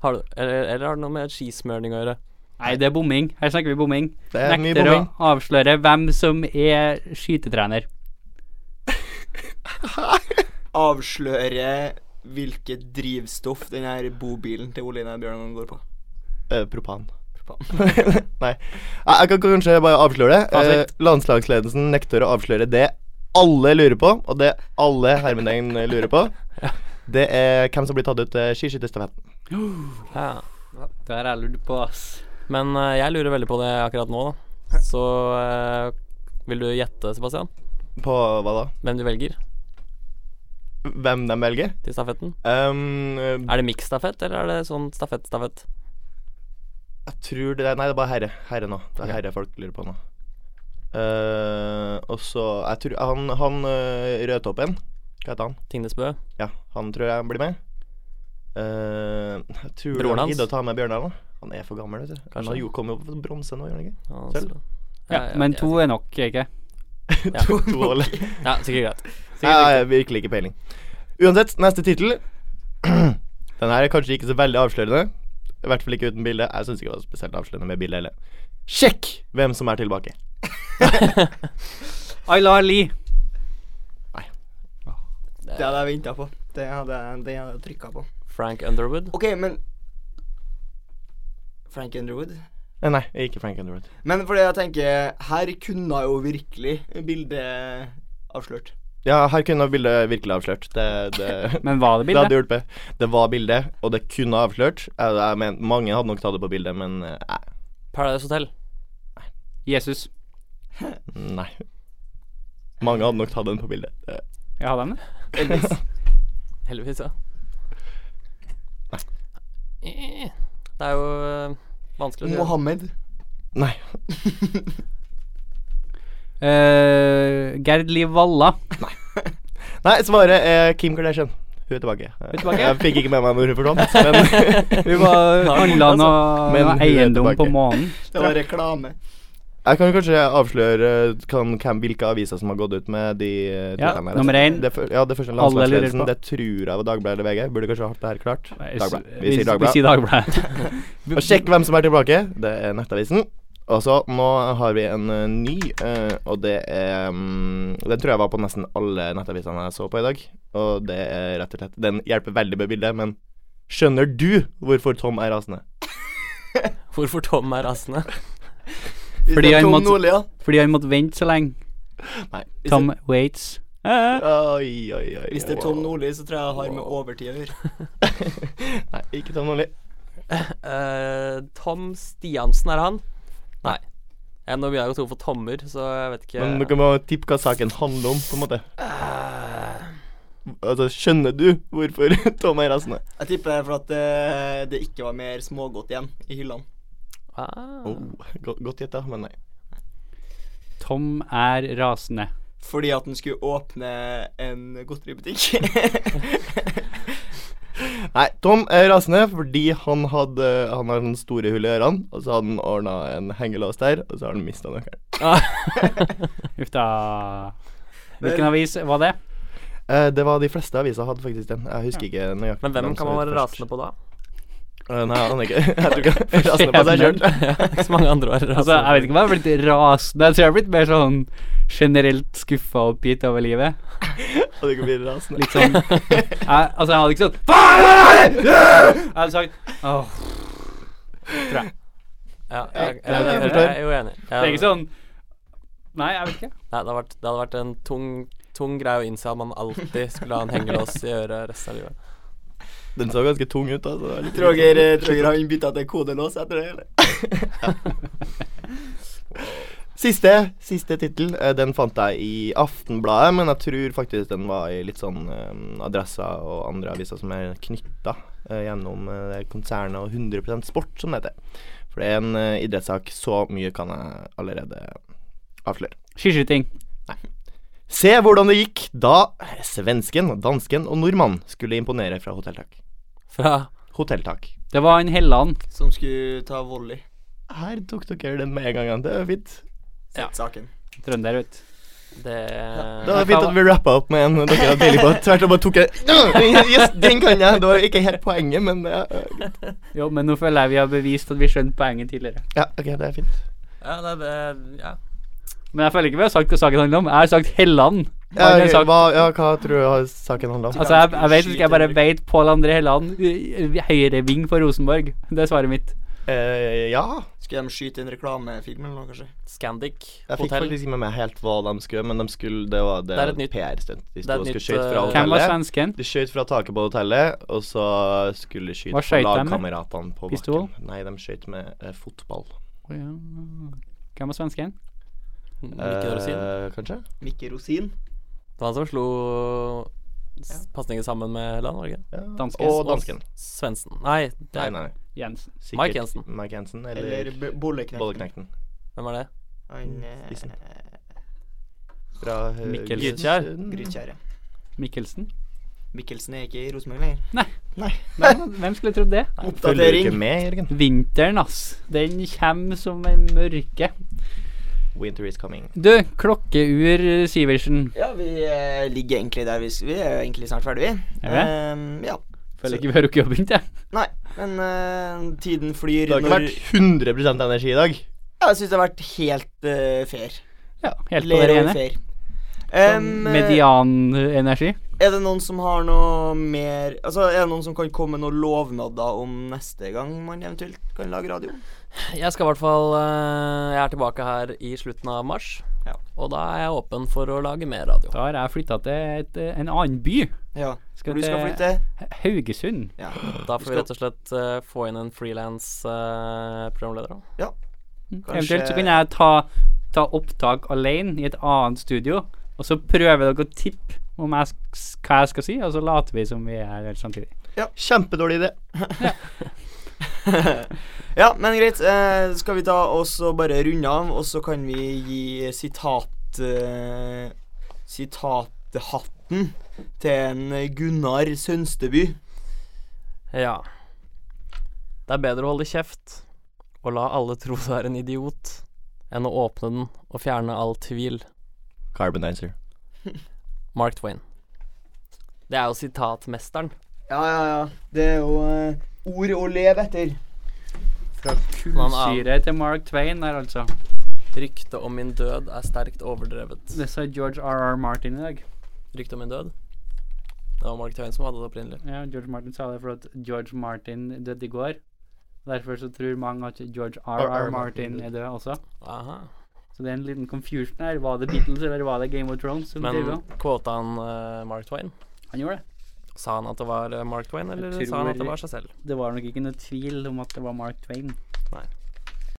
D: har det, eller, eller har det noe med skismøring å gjøre?
A: Nei, det er bomming. Her snakker vi bomming.
C: Det er mye
A: Nekter å
C: bomming.
A: avsløre hvem som er skytetrener.
B: Avsløre hvilket drivstoff den her bobilen til Olina Bjørnvann går på.
C: Eh, propan.
B: Propan.
C: Nei. Jeg, jeg kan kanskje bare avsløre det. Eh,
A: Fasit.
C: landslagsledelsen nekter å avsløre det alle lurer på, og det alle hermetegn lurer på. Det er hvem som blir tatt ut til skiskytterstafetten.
D: Ja.
A: Det har jeg lurt på, ass.
D: Men eh, jeg lurer veldig på det akkurat nå, da. Så eh, vil du gjette, Sebastian?
C: På hva da?
D: Hvem du velger
C: Hvem de velger?
D: til stafetten?
C: Um, eh,
D: Er det miksstafett, eller er det sånn stafett-stafett?
C: jeg tror det Nei, det er bare herre. Herre nå. Det er herre folk lurer på nå. Eh, og så Jeg tror han, han eh, rødtoppen Hva heter han?
D: Tingnesbø?
C: Ja, han tror jeg blir med. Eh, jeg tror
D: Broren
C: han
D: hans?
C: gidder å ta med Bjørndalen. da. Han er for gammel, vet du. Han
D: Kanskje.
C: har jo kommet opp på bronse nå, gjør han ikke?
D: Ja,
C: Sølv?
D: så-
A: Ja,
D: Altså- ja,
A: men
D: jeg-
A: to er nok, ikke?
C: To, to år, eller?
D: Ja, sikkert greit.
C: Nei, jeg har virkelig ikke peiling. Uansett, neste tittel. Den her er kanskje ikke så veldig avslørende. I hvert fall ikke uten bilde. Jeg syns ikke det var spesielt avslørende med bilde heller. Sjekk hvem som er tilbake.
A: Aylar Lie.
B: Det
D: Eh,
B: hadde jeg venta på. Det hadde jeg, det hadde jeg trykka på.
D: Frank Underwood.
B: Ok, men Frank Underwood?
C: Eh, Nei, jeg er ikke Frank Underwood.
B: Men fordi jeg tenker Her kunne jo virkelig bildet avslørt.
C: Ja, her kunne bildet virkelig avslørt. Det, det,
A: Men var det
C: det hadde
A: bildet?
C: hjulpet. Det var bildet, og det kunne avslørt. Jeg, jeg men, mange hadde nok tatt det på bildet, men eh,
D: Paradise Hotel.
A: Jesus.
C: nei. Mange hadde nok tatt den på bildet. Eh,
A: Ja, hadde han det?
B: Elvis.
D: Heldigvis, ja. Eh, Det er jo eh, vanskelig å gjøre.
B: Mohammed.
C: Nei.
A: Eh, Gerd Liv Valla.
C: Nei, svaret er Kim Kardashian. Hun er tilbake.
A: er tilbake?
C: Jeg fikk ikke med meg hvor hun forsvant, Altså, men
A: Hun var
D: Ja,
A: handla
D: altså.
A: noe
C: Men
A: noe
C: hun er
A: eiendom på
C: tilbake.
A: månen.
B: Det var reklame.
C: Jeg kan kanskje avsløre eh, kan, hvem, hvilke aviser som har gått ut med de eh,
A: Ja,
C: titlene her.
A: nummer én.
C: Det, fyr- ja, det første
A: Alle lurer
C: landslagsledelsen.
A: på.
C: Det tror jeg var Dagbladet eller VG. Burde kanskje hatt det her klart.
A: Nei,
C: Dagbladet.
A: vi-
C: Vi sier
A: Vi sier
C: Dagbladet.
A: Dagbladet.
C: Og sjekk hvem som er tilbake. Det er Nettavisen. Og så nå har vi en eh, ny, eh, og det er mm, Den tror jeg var på nesten alle nettavisene jeg så på i dag. Og det er rett og slett Den hjelper veldig med bildet, men skjønner du hvorfor Tom er rasende?
D: Hvorfor Tom er rasende?
A: Fordi han
B: Tom
A: måtte-
B: Nordli, ja.
A: Fordi han måtte vente så lenge.
C: Nei.
A: Tom Waits. Eh,
C: Oi, oi, oi.
B: Hvis det er Tom Nordli, så tror jeg jeg har med overtid å gjøre.
C: Nei, ikke Tom Nordli.
D: Eh, Tom Stiansen, er det han? Nei. Eh, nå blir jeg jo to for tommer, så jeg vet ikke
C: Men dere må tippe hva saken handler om, på en måte.
D: Eh,
C: Altså, skjønner du hvorfor Tom er rasende?
B: Jeg tipper det er for at eh, det ikke var mer smågodt igjen i hyllene.
D: Ah.
C: Oh, go- godt gjetta, men nei.
A: Tom er rasende.
B: Fordi at den skulle åpne en godteributikk.
C: Nei, Tom er rasende fordi han hadde Han har sånne store hull i ørene, og så hadde han ordna en hengelås der, og så har han mista nøkkelen.
A: Uff da. Hvilken avis var det?
C: Eh, det var de fleste aviser hadde faktisk den. Jeg husker ikke nøyaktig.
D: Men hvem
C: hvem
D: kan
C: som
D: man
C: var
D: være
C: først.
D: rasende på da?
C: Eh, nei, jeg aner ikke. Jeg tror ikke han er rasende på seg
A: Skjebnen.
C: sjøl.
D: Ikke så mange andre er
A: Altså, jeg vet
D: rasende.
A: ikke om jeg har blitt rasende. Jeg tror jeg har blitt mer sånn generelt skuffa og oppgitt over livet.
C: Og du kan bli rasende.
A: Litt sånn jeg, Altså, jeg hadde ikke sånn Faen! Jeg hadde sagt åh.
D: Ja, jeg, jeg,
C: Ja, jeg
D: jeg, jeg,
C: forstår.
D: er jo enig.
A: Det er
D: Jeg,
A: ikke sånn Nei, jeg vet ikke.
D: nei, det, hadde vært, det hadde vært en tung, tung greie å innse at man alltid skulle ha en hengelås i øret resten av livet.
C: Den så ganske tung ut, altså. Det var litt-
B: tror dere tror dere han bytta til kodelås etter det, eller?
C: Siste, siste tittel. eh, Den fant jeg i Aftenbladet, men jeg tror faktisk den var i litt sånn eh, adresser og andre aviser som er knytta gjennom eh, det konsernet og 100 sport, som det heter. For det er en eh, idrettssak. Så mye kan jeg allerede avsløre.
A: Skiskyting.
C: Se hvordan det gikk da svensken, dansken og nordmannen skulle imponere fra hotelltak.
D: Fra
C: Hotelltak.
A: Det var han Helland.
B: Som skulle ta volley.
C: Her tok dere den med en gang. ja. Det er fint.
D: Ja.
B: Saken.
A: Trønder, vet du.
D: det
C: Det var fint at vi rappa opp med en dere har peiling på. Tvert om bare tok jeg Yes, den kan jeg! Det var ikke helt poenget, men ja,
A: Jo, men nå føler jeg vi har bevist at vi skjønte poenget tidligere.
C: ja ok, det er fint.
D: Ja, det, det, ja.
A: Men jeg føler ikke vi har sagt hva saken handler om. Jeg har sagt Helland.
C: Ja,
A: Han har sagt-
C: hva, ja, hva tror du har saken handler om?
A: Altså, jeg, jeg vet ikke, jeg bare vet Pål André Helland. Høyreving for Rosenborg. Det er svaret mitt.
C: Eh, ja.
B: Skulle de skyte en reklamefilm eller noe, kanskje?
D: Scandic
C: Jeg fikk
D: hotell.
C: faktisk ikke med meg helt hva de skulle, men de skulle, det var det,
D: Det er et nytt-
C: PR-stunt. De
D: det er
C: sto og
D: et
C: skulle
D: nytt,
C: skyte fra
D: eh,
A: Hvem var
C: hotellet.
A: svensken?
C: De skjøt fra taket på hotellet, og så skulle de skyte
A: Hva
C: på
A: skjøt de med?
C: lagkameratene på
A: Pistol?
C: bakken. Nei, de skjøt med eh, fotball.
A: Å, ja. Hvem var svensken?
D: Mikke Dorsin.
C: Eh, kanskje?
B: Mikke Rosin.
D: Det var han som slo s- pasningen sammen med Helland, var det ikke?
C: Ja.
A: Dansken.
C: Og dansken.
D: Svendsen. Nei, det
C: Nei,
D: er,
C: nei.
A: Jensen.
C: Sikkert
D: Mike Jensen.
C: Mike Jensen
B: Eller
C: eller
B: B- Bolleknekten.
C: Bolleknekten.
D: hvem var det?
B: Han
A: Mm,
B: eh,
C: Isen. Fra eh,
A: Mikkel
C: Grytkjær.
B: Grytkjær, ja.
A: Mikkelsen.
B: Mikkelsen er ikke i Rosenborg lenger.
A: Hvem, hvem skulle trodd det?
C: Følger du ikke
B: Oppdatering.
C: med, Jørgen?
A: Vinteren, ass. Den kommer som en mørke.
C: Winter is coming.
A: Du, klokkeur, Sivertsen.
B: Ja, vi eh, ligger egentlig der vi s- Vi er jo egentlig snart ferdig, vi.
A: Er vi det?
B: Ehm, ja.
A: Føler ikke vi har rukket å begynne, jeg.
B: Nei, men eh, tiden flyr
C: Det har ikke
B: når
C: vært 100 energi i dag.
B: Ja, Jeg syns det har vært helt eh, fair.
A: Ja, helt på det Sånn
B: Ler og
A: rene.
B: fair.
A: Medianenergi.
B: Ehm, eh, Er det noen som har noe mer Altså, er det noen som kan komme med noen lovnader om neste gang man eventuelt kan lage radio?
D: Jeg skal i hvert fall eh, Jeg er tilbake her i slutten av mars.
B: Ja.
D: Og da er jeg åpen for å lage mer radio.
A: Da har jeg flytta til et, en annen by.
B: Ja.
A: Skal
B: Hvor du skal
A: til-
B: flytte?
A: Haugesund.
B: Ja.
D: Da får vi
B: skal-
D: rett og slett eh, få inn en frilans programleder. da.
B: Kanskje-
A: Eventuelt så kan jeg ta, ta opptak alene i et annet studio, og så prøver dere å tippe om jeg, sk- hva jeg skal si, og så later vi som vi er helt samtidig.
C: Kjempedårlig idé.
B: ja, men greit. Eh, skal vi ta og så bare runde av, og så kan vi gi sitat... Eh, sitathatten til en Gunnar Sønsteby.
D: Ja. Det er bedre å holde kjeft og la alle tro du er en idiot, enn å åpne den og fjerne all tvil.
C: Carbonizer.
D: Mark Twain. Det er jo sitatmesteren.
B: Ja, ja, ja. Det er jo eh, ord å leve etter.
A: Fra
D: Noen
A: kullsyre til Mark Twain der, altså.
D: Ryktet om min død er sterkt overdrevet.
A: Det sa George R.R. Martin i dag.
D: Ryktet om min død? Det var Mark Twain som hadde det opprinnelig.
A: Ja, George Martin sa det fordi George Martin døde i går. Derfor så tror mange at George R.R.
C: R.R.
A: Martin
C: Martin
A: er død også.
D: Aha.
A: Så det er en liten confusion her. Var det Beatles eller var det Game of Thrones? Som
D: Men
A: driver?
D: quota han eh, Mark Twain?
A: Han gjorde det.
D: Sa han at det var eh, Mark Twain, eller
A: Jeg
D: sa han at det
A: tror-
D: var seg selv?
A: Det var nok ikke noe tvil om at det var Mark Twain.
D: Nei.